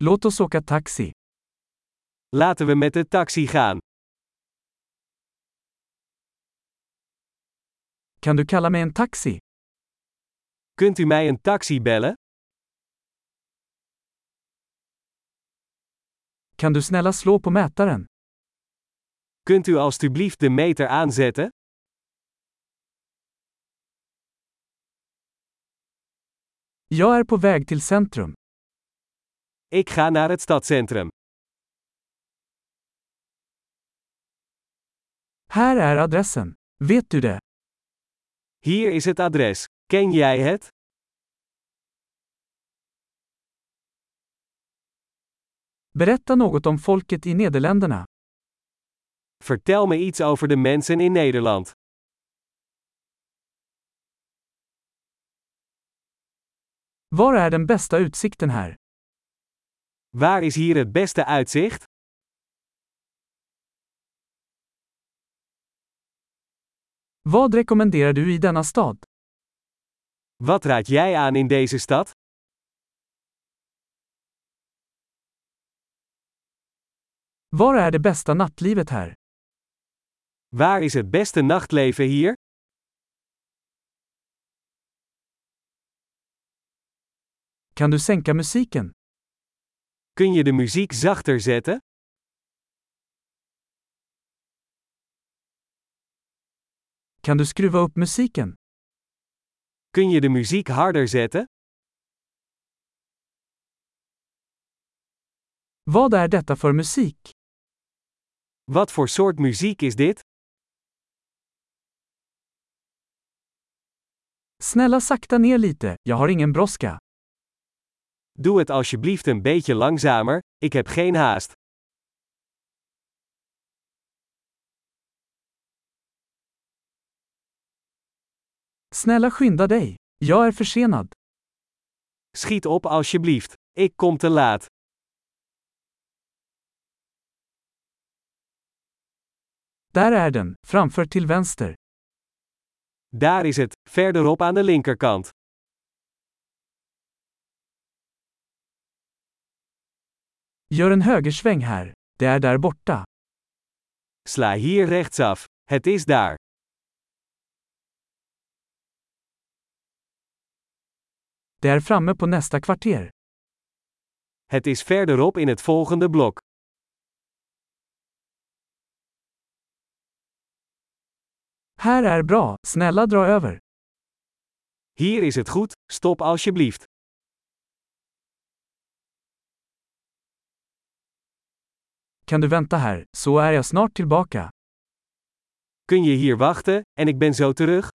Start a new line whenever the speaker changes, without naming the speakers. Låt oss åka taxi.
Laten we met de taxi gaan.
Kan du kalla mig en taxi?
Kunt u mij een taxi bellen?
Kan du snälla slå på mätaren?
Kunt u alstublieft de meter aanzetten?
Jag är på väg till centrum.
Ik ga naar het stadcentrum.
Här är adressen. Vet du det?
Hier is het adres. Ken jij het?
Berätta något om folket i Nederländerna.
Vertel me iets over de mensen in Nederland.
Var är den bästa utsikten här?
Waar is hier het beste uitzicht?
Vad rekommenderar du i denna stad?
Wat raad jij aan in deze stad?
Var är det bästa nattlivet här?
Waar is het beste nachtleven hier?
Kan du sänka musiken?
Kun je de muziek zachter zetten?
Kan du skruva upp musiken?
Kun je de muziek harder zetten?
Vad är detta för musik?
Wat voor soort muziek is dit?
Snälla sakta ner lite, jag har ingen brådska.
Doe het alsjeblieft een beetje langzamer, ik heb geen haast.
Snälla skynda dig. Jag är försenad.
Schiet op alsjeblieft, ik kom te laat.
Där är den, framför till vänster.
Daar is het, verderop aan de linkerkant.
Gör en högersväng här. Det är där borta.
Sla hier rechtsaf, het is daar.
Det är framme på nästa kvarter.
Het is verderop in het volgende blok.
Här är bra, snälla dra över.
Hier is het goed, stop alsjeblieft.
Kan du vänta här, så är jag snart tillbaka.
Kun je hier wachten, en ik ben zo terug?